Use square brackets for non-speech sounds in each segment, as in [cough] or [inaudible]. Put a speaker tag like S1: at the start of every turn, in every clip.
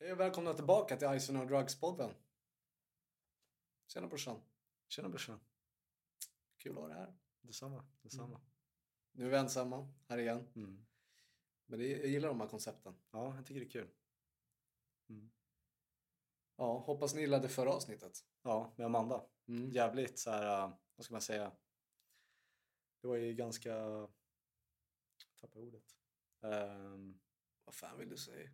S1: Hej och välkomna tillbaka till Ison och Drugs-podden. Tjena brorsan. Tjena brorsan. Kul att ha dig här. Mm.
S2: Detsamma. detsamma.
S1: Nu är vi ensamma här igen.
S2: Mm.
S1: Men det, jag gillar de här koncepten.
S2: Ja, jag tycker det är kul. Mm.
S1: Ja, hoppas ni gillade förra avsnittet.
S2: Ja, med Amanda.
S1: Mm.
S2: Jävligt så här, äh, vad ska man säga? Det var ju ganska... Jag tappar ordet. Um...
S1: Vad fan vill du säga?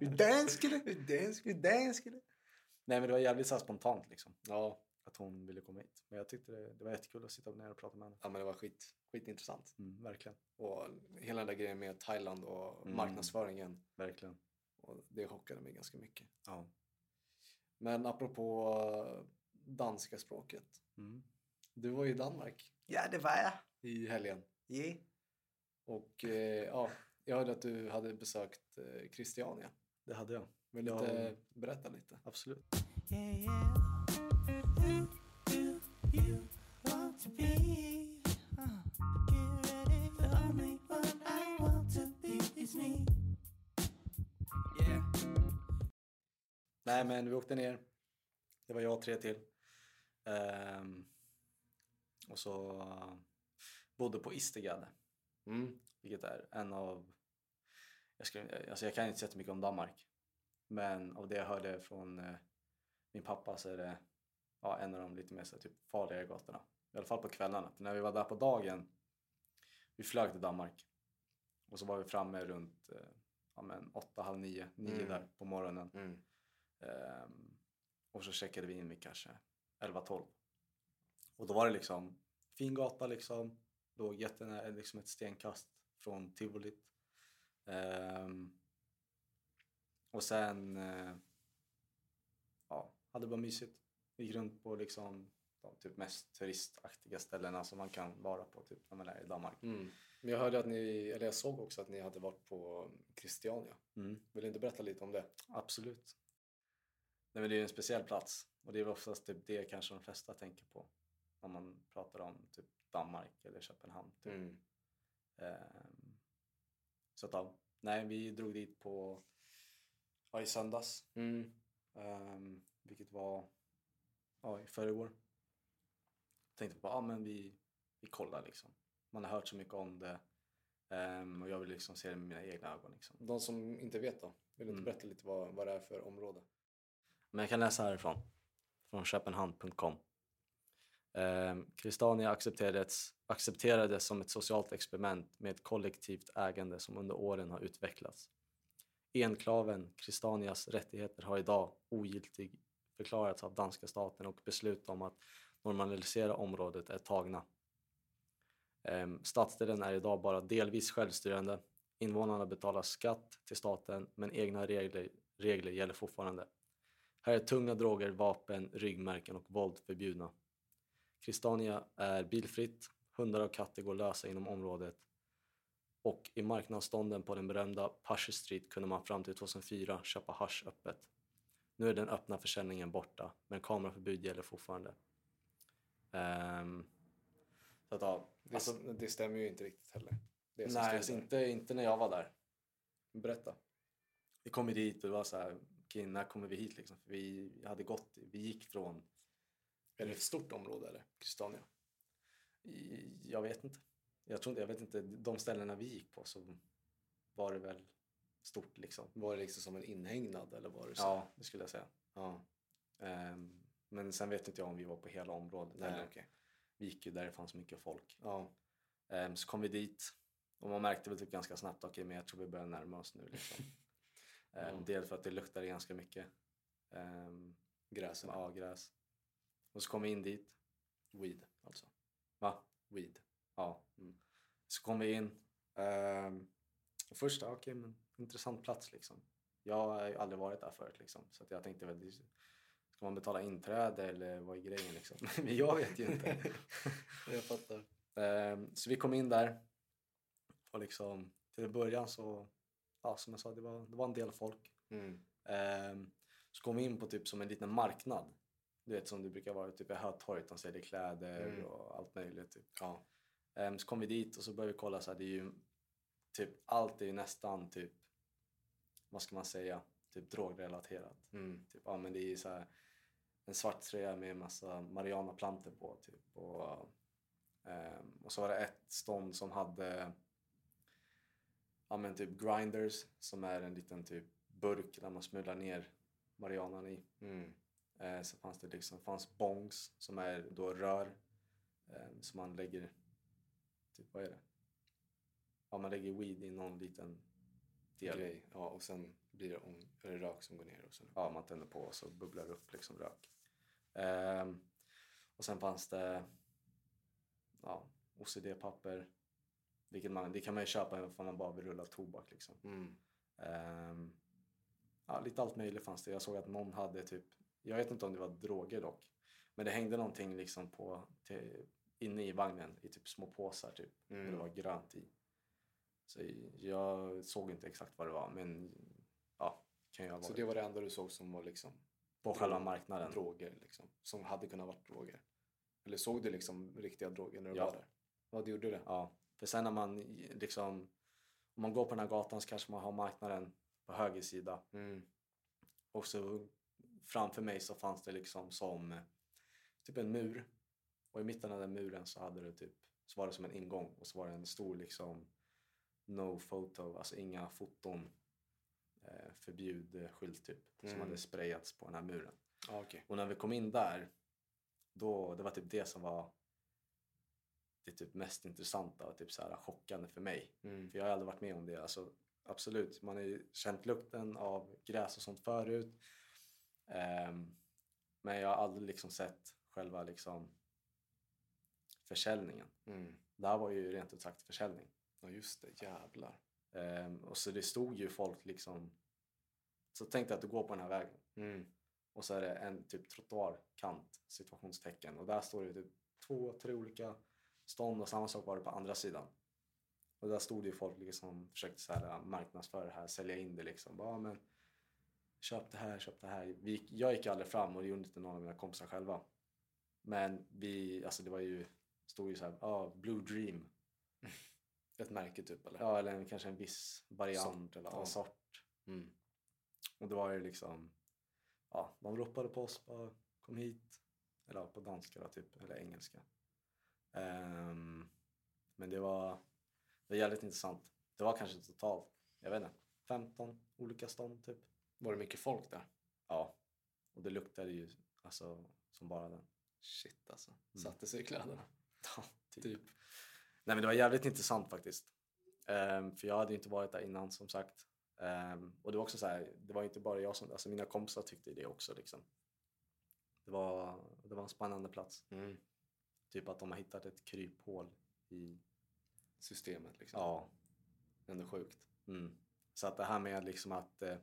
S2: danskade, danskade, danskade. Nej, men det var jävligt så här spontant liksom.
S1: Ja,
S2: Att hon ville komma hit. Men jag tyckte det, det var jättekul att sitta ner och prata med henne.
S1: ja men det var skit, skitintressant.
S2: Mm, verkligen.
S1: Och hela den där grejen med Thailand och
S2: Mm.
S1: marknadsföringen.
S2: Verkligen.
S1: Och det chockade mig ganska mycket.
S2: Ja.
S1: Men apropå eh, danska språket.
S2: Mm.
S1: Du var ju i Danmark
S2: Ja, det var jag.
S1: i helgen.
S2: Yeah.
S1: Och eh, ja, jag hörde att du hade besökt eh, Christiania.
S2: Det hade jag.
S1: Vill du
S2: Ja.
S1: inte berätta lite?
S2: Absolut.
S3: Yeah, yeah. Who do you want to be? Uh, get ready. The only one I want to be is me. Yeah.
S2: Nej, men vi åkte ner. Det var jag och tre till. Ehm, och så eh, bodde på Istegade,
S1: Mm.
S2: vilket är en av... Jag, skulle, alltså jag kan inte säga så mycket om Danmark, men av det jag hörde från eh, min pappa så är det ja, en av de lite mer så här, typ, farligare gatorna. I alla fall på kvällarna. För när vi var där på dagen, vi flög till Danmark och så var vi framme runt eh, ja, men, åtta, halv nio, nio
S1: Mm.
S2: där på morgonen.
S1: Mm.
S2: Ehm, och så checkade vi in vid kanske 11-12. Och då var det liksom fin gata liksom. Låg jättenära, liksom ett stenkast från tivolit. Ehm, och sen eh, ja, hade bara mysigt. Gick runt på liksom de typ mest turistaktiga ställena som man kan vara på typ när man är i Danmark.
S1: Mm. Men jag hörde att ni, eller jag såg också att ni hade varit på Christiania.
S2: Mm.
S1: Vill du inte berätta lite om det?
S2: Absolut. Nej, men det är ju en speciell plats och det är väl oftast typ det kanske de flesta tänker på när man pratar om typ Danmark eller Köpenhamn. Typ.
S1: Mm.
S2: Ehm, så att, ja. Nej, vi drog dit på ja, i söndags,
S1: Mm.
S2: ehm, vilket var ja, i förrgår. Tänkte på, ja men vi, vi kollar liksom. Man har hört så mycket om det ehm, och jag vill liksom se det med mina egna ögon. Liksom.
S1: De som inte vet då? Vill du inte
S2: Mm.
S1: berätta lite vad, vad det är för område?
S2: Men jag kan läsa härifrån. Från köpenhamn.com. Ehm, Christiania accepterades, accepterades som ett socialt experiment med ett kollektivt ägande som under åren har utvecklats. Enklaven Christianias rättigheter har idag ogiltig förklarats av danska staten och beslut om att normalisera området är tagna. Ehm, Stadsdelen är idag bara delvis självstyrande. Invånarna betalar skatt till staten men egna regler, regler gäller fortfarande. Här är tunga droger, vapen, ryggmärken och våld förbjudna. Christiania är bilfritt, hundar och katter går lösa inom området och i marknadsstånden på den berömda Pasher Street kunde man fram till 2004 köpa hasch öppet. Nu är den öppna försäljningen borta, men kameraförbud gäller fortfarande. Ehm, så att, ja, alltså-
S1: Det, som- det stämmer ju inte riktigt heller. Det som
S2: nej, alltså
S1: står där.
S2: inte, inte när jag var där.
S1: Berätta.
S2: Vi kom ju dit och det var så här, okej, när kommer vi hit liksom? För vi hade gått, vi gick från
S1: Är det ett stort område eller? Christiania?
S2: I- Jag vet inte. Jag, tror inte. jag vet inte. De ställena vi gick på så var det väl stort liksom.
S1: Var det liksom som en inhägnad eller var det så?
S2: Ja, det skulle jag säga.
S1: ja.
S2: Ehm, men sen vet inte jag om vi var på hela området.
S1: Nej,
S2: eller-
S1: okej.
S2: Vi gick ju där det fanns mycket folk.
S1: Ja.
S2: Ehm, så kom vi dit och man märkte väl typ ganska snabbt, okej men jag tror vi börjar närma oss nu liksom. Ehm,
S1: Mm.
S2: Dels för att det luktade ganska mycket. Um,
S1: Gräs eller?
S2: ja, gräs. Och så kom vi in dit.
S1: Weed alltså.
S2: Va?
S1: Weed.
S2: Ja.
S1: Mm.
S2: Så kom vi in. Ehm, först, ja, okej, men intressant plats liksom. Jag har ju aldrig varit där förut liksom. Så att jag tänkte, väl, det- ska man betala inträde eller vad är grejen liksom? [laughs] Men jag vet ju inte.
S1: Jag fattar.
S2: Ehm, så vi kom in där. Och liksom, till en början så, ja som jag sa, det var, det var en del folk.
S1: Mm.
S2: Ehm, så kom vi in på typ som en liten marknad. Du vet som det brukar vara typ i Hötorget, de säljer kläder
S1: Mm.
S2: och allt möjligt. Typ.
S1: Ja.
S2: Ehm, Så kom vi dit och så började vi kolla så här, det är ju typ allt är ju nästan typ vad ska man säga, typ drogrelaterat.
S1: mm,
S2: Typ, ja, men det är så här, en svart tröja med en massa marijuanaplantor på. Typ. Och, ehm, och så var det ett stånd som hade ja, men typ grinders som är en liten typ burk där man smular ner marijuanan i.
S1: Mm.
S2: Eh, så fanns det liksom, fanns bongs som är då rör eh, som man lägger, typ vad är det? Ja, man lägger weed i någon liten del.
S1: Grej. Ja, och sen blir det, om, är det rök som går ner och sen
S2: Ja, man tänder på och så bubblar det upp liksom rök. Ehm, och sen fanns det ja, OCD-papper. Vilket man, det kan man ju köpa även om man bara vill rulla tobak liksom.
S1: Mm.
S2: Ehm, ja, lite allt möjligt fanns det. Jag såg att någon hade typ, jag vet inte om det var droger dock, men det hängde någonting liksom på, till, inne i vagnen i typ små påsar typ.
S1: Mm.
S2: Och det var grönt i. Så jag såg inte exakt vad det var, men ja, kan jag ha
S1: Så
S2: varit
S1: det var det enda du såg som var liksom
S2: på själva marknaden.
S1: droger liksom. Som hade kunnat vara droger. Eller såg du liksom riktiga droger när du
S2: Ja.
S1: var där? Ja, du gjorde det?
S2: Ja, för sen när man liksom, om man går på den här gatan så kanske man har marknaden på höger sida
S1: Mm.
S2: och så framför mig så fanns det liksom som eh, typ en mur och i mitten av den muren så hade det typ så var det som en ingång och så var det en stor liksom no photo, alltså inga foton eh, förbjud eh, skylt typ som
S1: Mm.
S2: hade sprayats på den här muren.
S1: Ja, okej.
S2: Och när vi kom in där, då, det var typ det som var det typ mest intressanta och typ så här chockande för mig.
S1: Mm.
S2: För jag har aldrig varit med om det. Alltså, absolut, man har ju känt lukten av gräs och sånt förut. Ehm, men jag har aldrig liksom sett själva liksom försäljningen.
S1: Mm.
S2: Det här var ju rent ut sagt försäljning.
S1: Ja, just det. Jävlar.
S2: Ehm, och så det stod ju folk liksom... Så tänkte jag att du går på den här vägen.
S1: Mm.
S2: Och så är det en typ trottoarkant, situationstecken. Och där står det typ två, tre olika stånd och samma sak var det på andra sidan. Och där stod det ju folk liksom försökte så här marknadsföra det här, sälja in det liksom. Bara, "Ja, men köp det här, köp det här. Vi, gick- jag gick aldrig fram och det gjorde inte någon av mina kompisar själva. Men vi, alltså det var ju, stod ju så här, ja, Blue Dream. [laughs]
S1: Ett märke typ eller?
S2: Ja, eller en, kanske en viss variant
S1: Sort,
S2: eller
S1: ja.
S2: ja. sort.
S1: Mm.
S2: Och det var ju liksom, ja, de ropade på oss bara kom hit. Eller ja, på danska då, typ, eller engelska. Ehm, men det var, det var jävligt intressant. Det var kanske totalt, jag vet inte, 15 olika stånd typ.
S1: Var det mycket folk där?
S2: Ja, och det luktade ju alltså som bara den.
S1: Shit alltså.
S2: Mm.
S1: Satte sig i kläderna.
S2: [laughs] Ja, typ.
S1: Typ.
S2: Nej men det var jävligt intressant faktiskt. Ehm, för jag hade ju inte varit där innan som sagt. Ehm, och det var också så här, det var inte bara jag som, alltså mina kompisar tyckte det också liksom. Det var, det var en spännande plats.
S1: Mm.
S2: Typ att de har hittat ett kryphål i,
S1: Systemet liksom.
S2: ja.
S1: Ändå sjukt.
S2: Mm. Så att det här med liksom att, eh,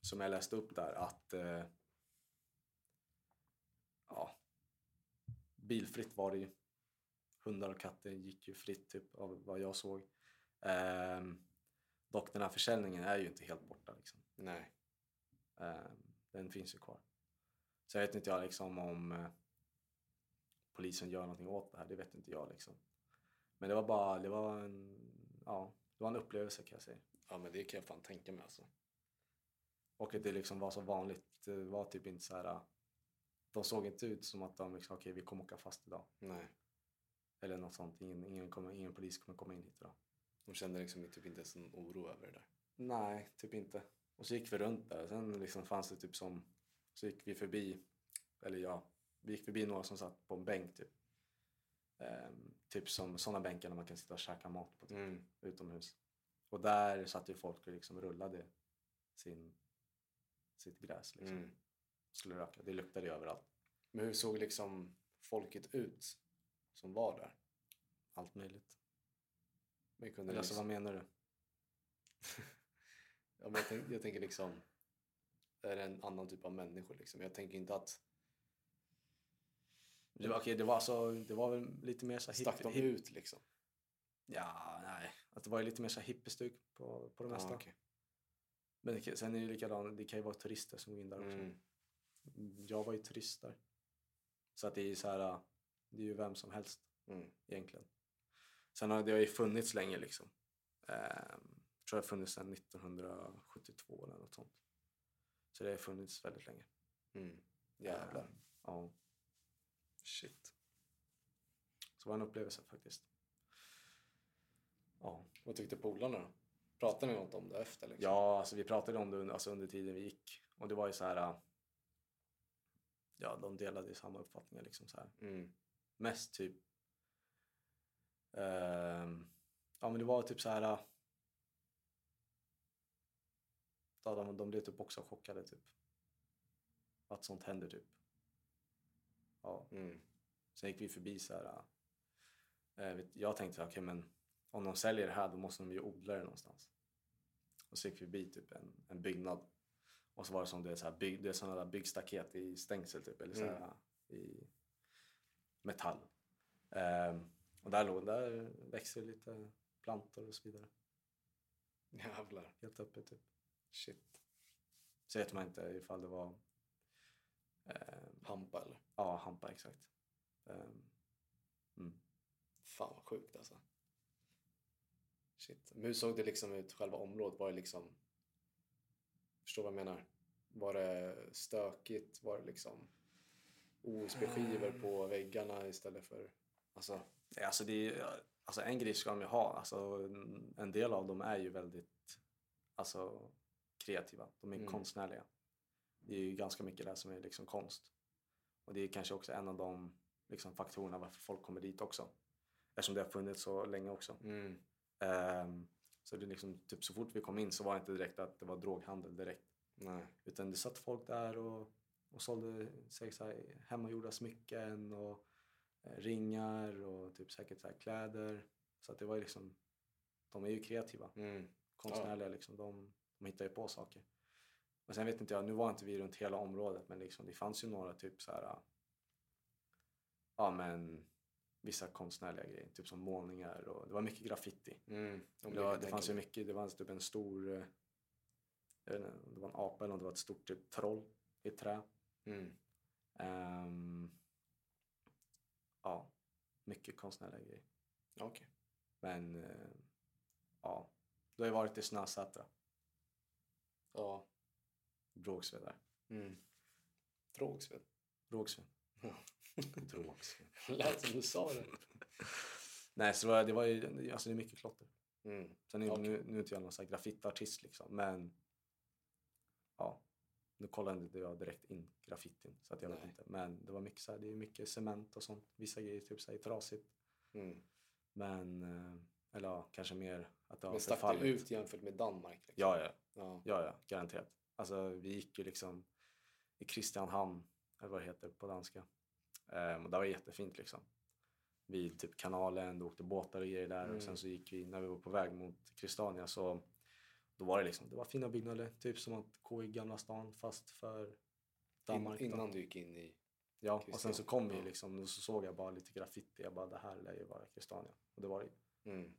S2: som jag läste upp där, att eh, ja, bilfritt var det ju. Hundar och katter gick ju fritt typ av vad jag såg. Ehm, dock den här försäljningen är ju inte helt borta liksom.
S1: Nej.
S2: Eh, den finns ju kvar. Så jag vet inte jag liksom om eh, polisen gör någonting åt det här. Det vet inte jag liksom. Men det var bara, det var en, ja, det var en upplevelse kan jag säga.
S1: Ja men det kan jag fan tänka mig alltså.
S2: Och att det liksom var så vanligt. Det var typ inte så här. De såg inte ut som att de liksom, okej vi kommer åka fast idag.
S1: Nej.
S2: Eller något sånt. Ingen, ingen, kommer, ingen polis kommer komma in hit idag.
S1: De kände liksom typ inte ens en oro över det där.
S2: Nej, typ inte. Och så gick vi runt där. Sen liksom fanns det typ som... Så gick vi förbi, eller ja, vi gick förbi några som satt på en bänk typ. Ehm, typ som sådana bänkar där man kan sitta och käka mat på typ,
S1: Mm.
S2: utomhus. Och där satt ju folk och liksom rullade sin, sitt gräs liksom.
S1: Mm.
S2: Skulle röka. Det luktade ju överallt.
S1: Men hur såg liksom folket ut som var där?
S2: Allt möjligt.
S1: Men kunde
S2: Eller alltså, vad
S1: liksom...
S2: menar du?
S1: ja, men jag, tänk, jag tänker liksom, är det en annan typ av människor liksom? Jag tänker inte att,
S2: Det var, okej, det var, alltså, det var väl lite mer så här
S1: stack de
S2: hipp-
S1: ut liksom?
S2: Ja, nej. Att det var ju lite mer så här hippiestuk på, på det mesta.
S1: Ja, Ah, okej.
S2: Men det kan, sen är det likadant, det kan ju vara turister som går in där också.
S1: mm.
S2: Jag var ju turist där. Så att det är ju så här, det är ju vem som helst
S1: Mm.
S2: egentligen. Sen har det har ju funnits länge liksom. Ehm, tror jag har funnits sedan 1972 eller något sånt. Så det har funnits väldigt länge.
S1: Mm. Jävlar.
S2: Eh, Ja.
S1: Shit.
S2: Så det var en upplevelse faktiskt. Ja.
S1: Vad tyckte polarna då? Pratade ni något om det efter? Liksom?
S2: Ja, alltså vi pratade om det under, alltså under tiden vi gick. Och det var ju så här... äh, Ja, de delade ju samma uppfattningar. Liksom så här.
S1: Mm.
S2: Mest typ... ehm, ja, men det var typ så här... äh, Ja, de, de blev typ också chockade, typ. Att sånt händer, typ. Ja.
S1: Mm.
S2: Sen gick vi förbi så här... äh, vet- Jag tänkte, okej, men om de säljer det här då måste de ju odla det någonstans. Och så gick vi förbi typ en, en byggnad. Och så var det som det är, så här bygg, det är sådana där byggstaket i stängsel typ. Eller så här,
S1: Mm.
S2: i metall. Ehm, och där, låg, där växer lite plantor och så vidare.
S1: Jävlar.
S2: Helt öppet typ.
S1: Shit.
S2: Så vet man inte ifall det var... ehm,
S1: Hampa eller?
S2: ja, hampa exakt. Ehm,
S1: Fan vad sjukt alltså. Shit. Men hur såg det liksom ut, själva området? Var det liksom... Förstår vad jag menar? Var det stökigt? Var det liksom OSB-skivor
S2: Ah.
S1: på väggarna istället för... Alltså,
S2: Ja, Alltså, det är, alltså en grej ska de ju ha. Alltså, en- en del av dem är ju väldigt alltså, kreativa. De är
S1: Mm.
S2: konstnärliga. Det är ju ganska mycket där som är liksom konst. Och det är kanske också en av de liksom, faktorerna varför folk kommer dit också. Eftersom det har funnits så länge också.
S1: mm,
S2: Ehm, så det är liksom, typ, så fort vi kom in så var det inte direkt att det var droghandel direkt.
S1: nej.
S2: Utan det satt folk där och, och sålde säkert så här, hemmagjorda smycken och eh, ringar och typ säkert så här, kläder. Så att det var ju liksom, de är ju kreativa,
S1: Mm,
S2: konstnärliga liksom. De, de hittar ju på saker. Men sen vet inte jag, nu var inte vi runt hela området men liksom, det fanns ju några typ så här, ja men vissa konstnärliga grejer, typ som målningar och det var mycket graffiti.
S1: mm. Om
S2: Det, var,
S1: kan
S2: det
S1: tänka
S2: fanns ju
S1: mig.
S2: mycket. Det fanns typ en stor... eh, Jag vet inte om det var en apa eller om det var ett stort typ, troll i trä.
S1: Mm.
S2: Ehm, ja, mycket konstnärliga grejer.
S1: Okej.
S2: Men eh, ja, du har ju varit i Snösätra,
S1: Ja.
S2: Rågsved där.
S1: Mm. [laughs] Drogsved.
S2: Rågsved.
S1: Ja.
S2: [laughs] Rågsved.
S1: Lät som du sa det.
S2: Nej, så det var, det var ju alltså, det är mycket klotter.
S1: Mm.
S2: Sen är,
S1: Okej.
S2: nu, nu är inte jag någon så här graffitartist liksom, men ja, nu kollade inte jag direkt in graffitin så att jag vet
S1: Nej.
S2: inte. Men det var mycket så här, det är mycket cement och sånt. Vissa grejer typ så här, är trasigt,
S1: Mm.
S2: men eh, eller ja, kanske mer att det har
S1: Men stack det
S2: förfallit.
S1: ut jämfört med Danmark? Liksom.
S2: Ja, ja,
S1: Ja.
S2: ja, ja, garanterat. Alltså, vi gick ju liksom i Kristianhamn, eller vad det heter på danska. Ehm, och det var jättefint liksom. Vid typ kanalen, det åkte båtar och grejer där.
S1: Mm.
S2: Och sen så gick vi, när vi var på väg mot Kristania så då var det liksom, det var fina byggnader. Typ som att gå i Gamla stan fast för Danmark.
S1: In,
S2: då.
S1: innan du gick in i...
S2: ja, och sen så
S1: Kristiania.
S2: kom vi
S1: Ja.
S2: liksom och så såg jag bara lite graffiti. Jag bara, det här lär ju vara Kristania. Och det var det ju.
S1: Mm.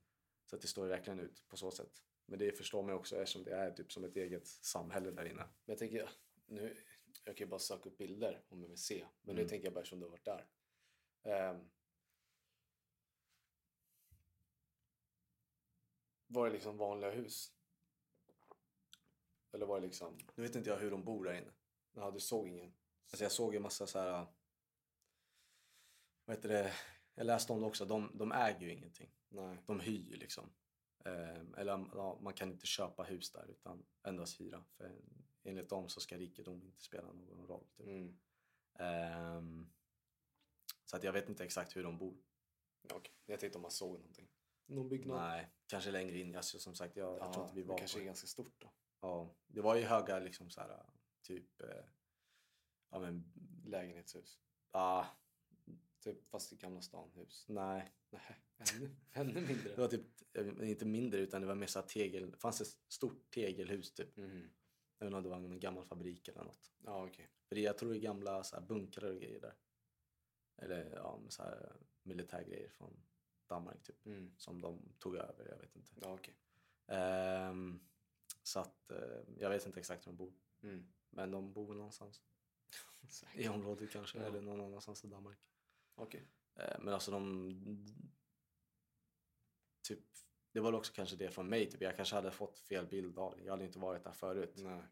S2: Så att det står ju verkligen ut på så sätt. Men det förstår man ju också eftersom det är typ som ett eget samhälle där inne.
S1: Men jag tänker, nu, jag kan ju bara söka upp bilder om jag vill se. Men nu
S2: Mm.
S1: tänker jag bara som du har varit där. Ehm. var det liksom vanliga hus? Eller var det liksom...
S2: Nu vet inte jag hur de bor där inne.
S1: Ja, du såg ingen?
S2: Alltså jag såg ju massa så här... Vad heter det? Jag läste om det också. De, de äger ju ingenting.
S1: Nej.
S2: De hyr ju liksom. Eh, eller ja, man kan inte köpa hus där utan endast hyra. För enligt dem så ska rikedom inte spela någon roll. Typ.
S1: Mm.
S2: Ehm, så att jag vet inte exakt hur de bor.
S1: Ja, Okej, jag tänkte om man såg någonting. Någon byggnad?
S2: Nej, kanske längre in. Alltså, som sagt, jag, jag tror inte vi
S1: men
S2: var
S1: kanske
S2: på
S1: är ganska stort då.
S2: ja, Det var ju höga liksom så här typ... Eh, ja men...
S1: Lägenhetshus.
S2: Ah,
S1: Typ fast i Gamla stan hus.
S2: nej.
S1: Nej, [laughs] ännu, ännu mindre.
S2: Det var typ, eh, inte mindre utan det var mer så här tegel, det fanns ett stort tegelhus typ.
S1: Mm.
S2: Jag vet inte om det var en gammal fabrik eller något.
S1: Ja, okej.
S2: För det, jag tror det är gamla så här bunkrar och grejer där. Eller ja, men så här militärgrejer från Danmark typ.
S1: Mm.
S2: Som de tog över, jag vet inte.
S1: Ja, okej.
S2: Ehm, så att eh, jag vet inte exakt var de bor.
S1: Mm.
S2: Men de bor väl någonstans.
S1: Säkert.
S2: I området kanske,
S1: Ja.
S2: eller någon annanstans i Danmark. Ehm,
S1: Okej.
S2: Eh, Men alltså de... Typ Det var väl också kanske det från mig. Typ. Jag kanske hade fått fel bild av det. Jag hade inte varit där förut.
S1: Nej.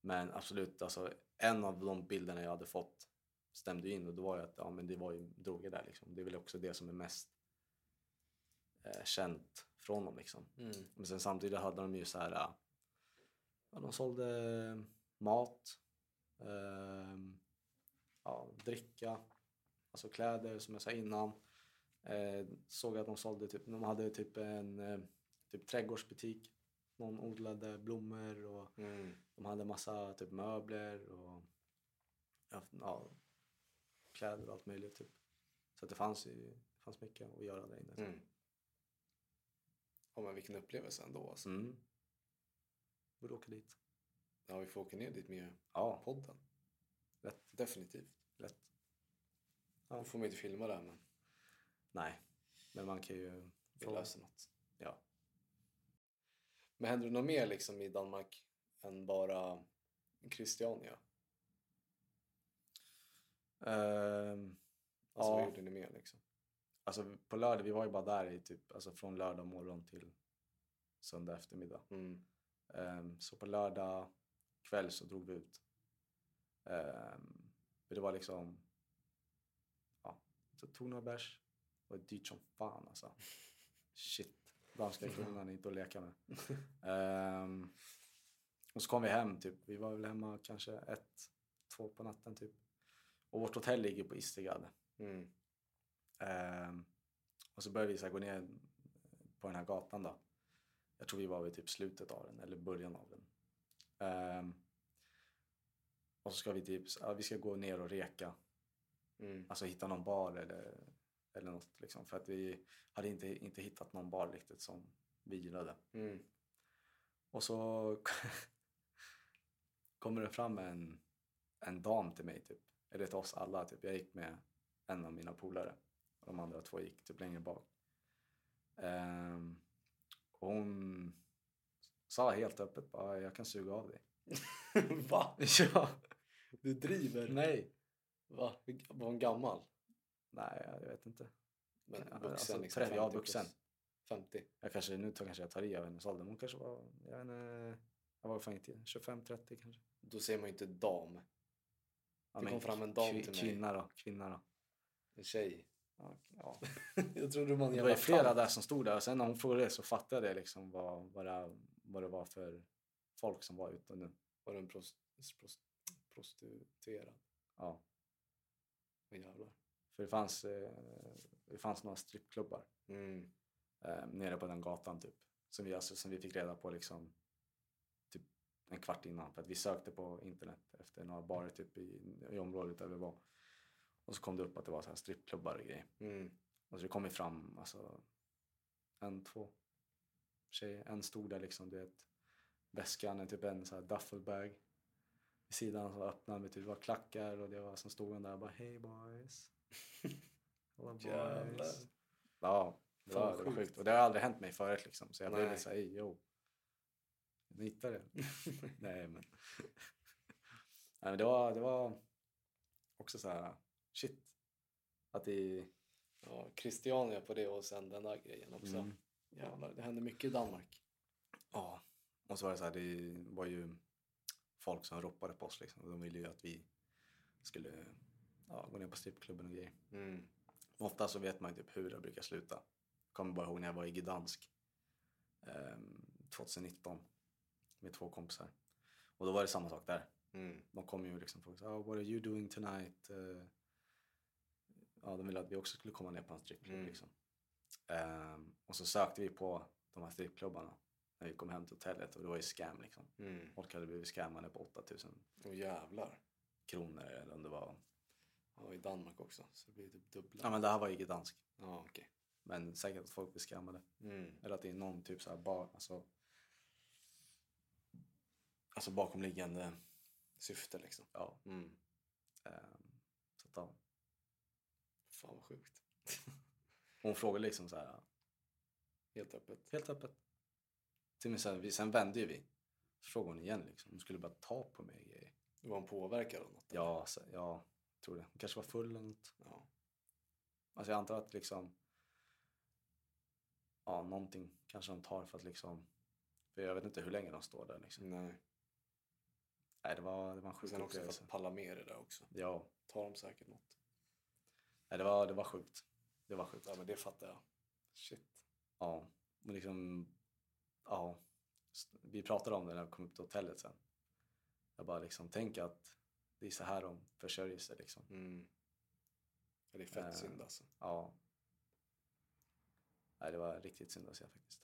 S2: Men absolut, alltså, en av de bilderna jag hade fått stämde ju in och då var ju att ja, men det var ju droger där. Liksom. Det är väl också det som är mest eh, känt från dem. Liksom.
S1: Mm.
S2: Men sen samtidigt hade de ju så här... eh, Ja, de sålde mat, ehm, ja, dricka, alltså kläder som jag sa innan. Eh, såg att de sålde typ, de hade typ en eh, typ trädgårdsbutik. Någon odlade blommor och
S1: Mm.
S2: de hade massa typ möbler och ja, ja, kläder och allt möjligt. Typ. Så att det fanns, ju, det fanns mycket att göra där inne.
S1: Mm. Ja, men vilken upplevelse ändå. Alltså.
S2: Mm. Borde åka dit.
S1: Ja, vi får åka ner dit med
S2: Ja,
S1: podden.
S2: Lätt.
S1: Definitivt.
S2: lätt.
S1: Då får man inte filma det här, men
S2: Nej, men man kan ju...
S1: vi
S2: få-
S1: löser något.
S2: Ja.
S1: Men händer det något mer liksom i Danmark än bara Christiania?
S2: Ehm,
S1: Alltså,
S2: ja,
S1: vad gjorde ni mer liksom?
S2: alltså på lördag, vi var ju bara där i typ, alltså från lördag morgon till söndag eftermiddag.
S1: Mm.
S2: Ehm, så på lördag kväll så drog vi ut. Ehm, men det var liksom... Ja, så tog några bärs. Det var dyrt som fan alltså. Shit. Danska kronan är inte att leka med. Ehm, och så kom vi hem typ. Vi var väl hemma kanske ett, två på natten typ. Och vårt hotell ligger på Istegad.
S1: Mm.
S2: Ehm, och så började vi så här gå ner på den här gatan då. Jag tror vi var vid typ slutet av den eller början av den. Ehm, och så ska vi typ, ja, vi ska gå ner och reka.
S1: Mm.
S2: Alltså hitta någon bar eller, eller något liksom. För att vi hade inte, inte hittat någon bar riktigt som vi gillade.
S1: Mm. [laughs]
S2: Och så [laughs] kommer det fram en, en dam till mig, typ. eller till oss alla. Typ. Jag gick med en av mina polare och de andra två gick typ längre bak. Ehm, och hon sa helt öppet bara, jag kan suga av dig.
S1: Va?
S2: ja,
S1: Du driver?
S2: nej.
S1: Va? Hur- Var hon gammal?
S2: Nej, jag vet inte.
S1: Men
S2: Ja,
S1: vuxen
S2: alltså,
S1: liksom?
S2: 30, ja,
S1: 50
S2: vuxen.
S1: plus 50?
S2: Jag kanske, nu tar- kanske jag tar i av hennes ålder, men hon kanske var, jag vet inte, jag var fan inte 25-30 kanske.
S1: Då säger man ju inte dam.
S2: Ja,
S1: Det
S2: men
S1: kom fram en dam
S2: kvi-
S1: till mig.
S2: Kvinna då, kvinna då.
S1: En tjej. [laughs]
S2: Ja, ja.
S1: jag trodde man
S2: Det var ju flera där som stod där och sen när hon frågade så fattade jag liksom vad, vad, det, vad det var för folk som var ute nu.
S1: Var den prost, prost, prostituerad?
S2: Ja,
S1: Åh jävlar.
S2: för det fanns, eh, det fanns några strippklubbar
S1: Mm.
S2: eh, nere på den gatan typ. Som vi, alltså, som vi fick reda på liksom typ en kvart innan. För att vi sökte på internet efter några barer typ i, i området där vi var. Och så kom det upp att det var så här strippklubbar och grejer.
S1: Mm.
S2: Och så det kom ju fram alltså, en, två tjejer. En stod där liksom, du vet, väskan, en typ en så här duffelbag. Vid sidan så öppnade med typ bara klackar och det var som stod en där och bara hej boys. [laughs] Alla
S1: Jävlar.
S2: boys. Ja, det
S1: Fan,
S2: var, det var
S1: sjukt.
S2: sjukt. Och det har aldrig hänt mig förut liksom. Så jag blev
S1: Nej.
S2: lite såhär, ey yo. Ni hittade
S1: [laughs]
S2: det? Nej men. Nej men det var, det var också så här shit. Att det...
S1: Ja, Christiania på det och sen den där grejen också.
S2: Mm.
S1: Jävlar, det händer mycket i Danmark.
S2: Ja, och så var det så här, det var ju folk som ropade på oss liksom. De ville ju att vi skulle ja, gå ner på strippklubben och grejer.
S1: Mm.
S2: Ofta så vet man ju typ hur det brukar sluta. Jag kommer bara ihåg när jag var i Gdansk eh, 2019 med två kompisar. Och då var det samma sak där.
S1: Mm.
S2: De kom ju liksom och frågade oh, “What are you doing tonight?” Eh, Ja, de ville att vi också skulle komma ner på en strippklubb
S1: Mm.
S2: liksom. Ehm, och så sökte vi på de här strippklubbarna när vi kom hem till hotellet och det var ju scam liksom.
S1: Mm.
S2: Folk hade blivit scammade på 8000
S1: Åh jävlar.
S2: kronor eller om det var...
S1: Ja, i Danmark också. Så det blir typ dubbla.
S2: Ja, men det här var ju Gdansk.
S1: Ja, okej.
S2: Men säkert att folk blir scammade.
S1: Mm.
S2: Eller att det är någon typ så här bar, alltså... Alltså bakomliggande,
S1: Syfte liksom.
S2: ja.
S1: Mm.
S2: ehm, så att, ja.
S1: Fan vad sjukt.
S2: Hon frågade liksom så här...
S1: Helt öppet.
S2: Helt öppet. Till och med sen, vi, sen vände ju vi. Så frågade hon igen liksom. Hon skulle bara ta på mig grejer.
S1: Var hon påverkad av något?
S2: Ja, alltså, ja, jag tror det. Hon kanske var full eller något.
S1: Ja.
S2: Alltså jag antar att liksom... Ja, fan, någonting kanske de tar för att liksom... För jag vet inte hur länge de står där liksom.
S1: Nej.
S2: Nej, det var, det var en
S1: Och
S2: sjuk
S1: Mm. sen också för
S2: upplevelse.
S1: att palla med det där också.
S2: Ja,
S1: Tar de säkert något.
S2: nej, det var, det var sjukt. Det var sjukt.
S1: Ja, men det fattar jag. Shit.
S2: Ja, men liksom... Ja. S- Vi pratade om det när vi kom upp till hotellet sen. Jag bara liksom, tänk att det är så här de försörjer sig liksom.
S1: Mm. Ja, det är fett
S2: Eh.
S1: synd alltså.
S2: Ja. Nej, det var riktigt synd att se faktiskt.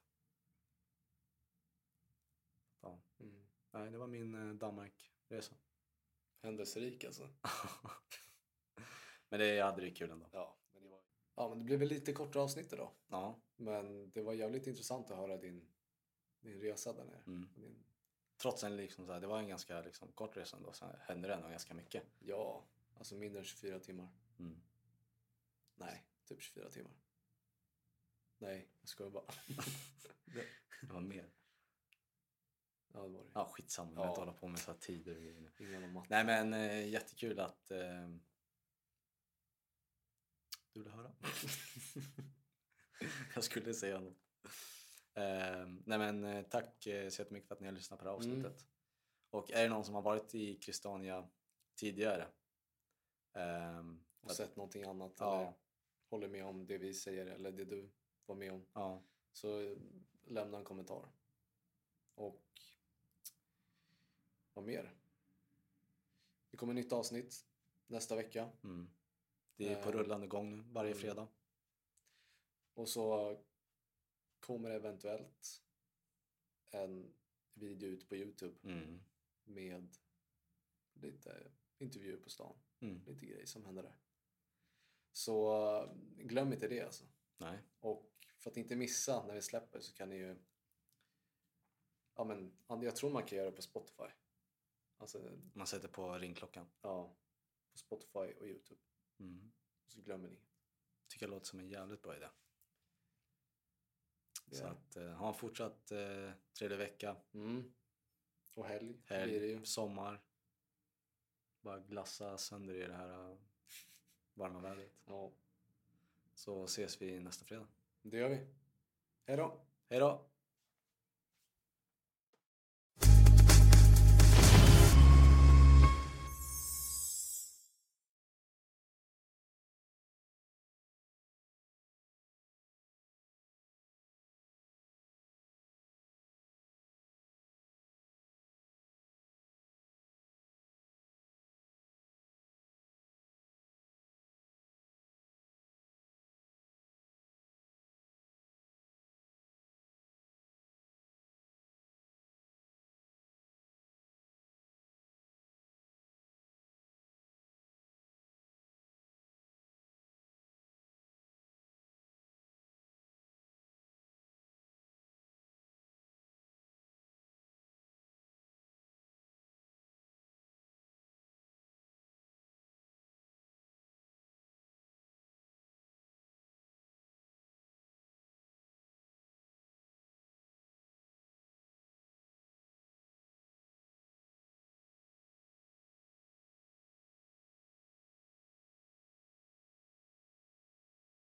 S2: Ja.
S1: Mm.
S2: Nej, det var min eh, Danmarkresa. [laughs]
S1: Händelserik alltså.
S2: men det, jag hade det kul ändå.
S1: Ja, men det var... Ja, men det blev väl lite kortare avsnitt idag.
S2: Ja.
S1: Men det var jävligt intressant att höra din, din resa där nere.
S2: Mm.
S1: Och Din,
S2: Trots en liksom så här, det var en ganska liksom, kort resa ändå. Sen hände det ändå ganska mycket.
S1: ja, alltså mindre än 24 timmar.
S2: Mm.
S1: Nej, typ 24 timmar. Nej, jag skojar
S2: [laughs]
S1: bara.
S2: Det var mer.
S1: Ja, det var det.
S2: Ja, skitsamma. Jag vill inte
S1: Ja.
S2: hålla på med så här tider och grejer nu.
S1: Ingen om matte.
S2: Nej, men eh, jättekul att... Eh... Du ville höra? [laughs] jag skulle säga något. Eh, nej, men eh, tack eh, så jättemycket för att ni har lyssnat på det här
S1: Mm.
S2: avsnittet. Och är det någon som har varit i Kristania tidigare? ehm,
S1: Och sett någonting annat
S2: Ja.
S1: eller håller med om det vi säger eller det du var med om.
S2: ja,
S1: Så eh, lämna en kommentar. Och vad mer? Det kommer nytt avsnitt nästa vecka.
S2: mm. Det är på
S1: Ehm,
S2: rullande gång nu, varje
S1: mm.
S2: fredag.
S1: Och så kommer eventuellt en video ut på Youtube
S2: Mm.
S1: med lite intervjuer på stan.
S2: Mm.
S1: Lite grejer som händer där. Så eh, glöm inte det alltså.
S2: Nej.
S1: Och för att inte missa när vi släpper så kan ni ju... Ja, men, jag tror man kan göra det på Spotify. Alltså,
S2: Man sätter på ringklockan.
S1: ja. På Spotify och Youtube.
S2: Mm.
S1: Så glömmer ni.
S2: Tycker jag låter som en jävligt bra idé.
S1: Det
S2: Så
S1: är-
S2: att, eh, ha en fortsatt eh, trevlig vecka.
S1: Mm. Och helg, blir det ju.
S2: helg, sommar. Bara glassa sönder i det här eh, varma vädret.
S1: Ja,
S2: Så ses vi nästa fredag.
S1: det gör vi. Hej då!
S2: Hej då!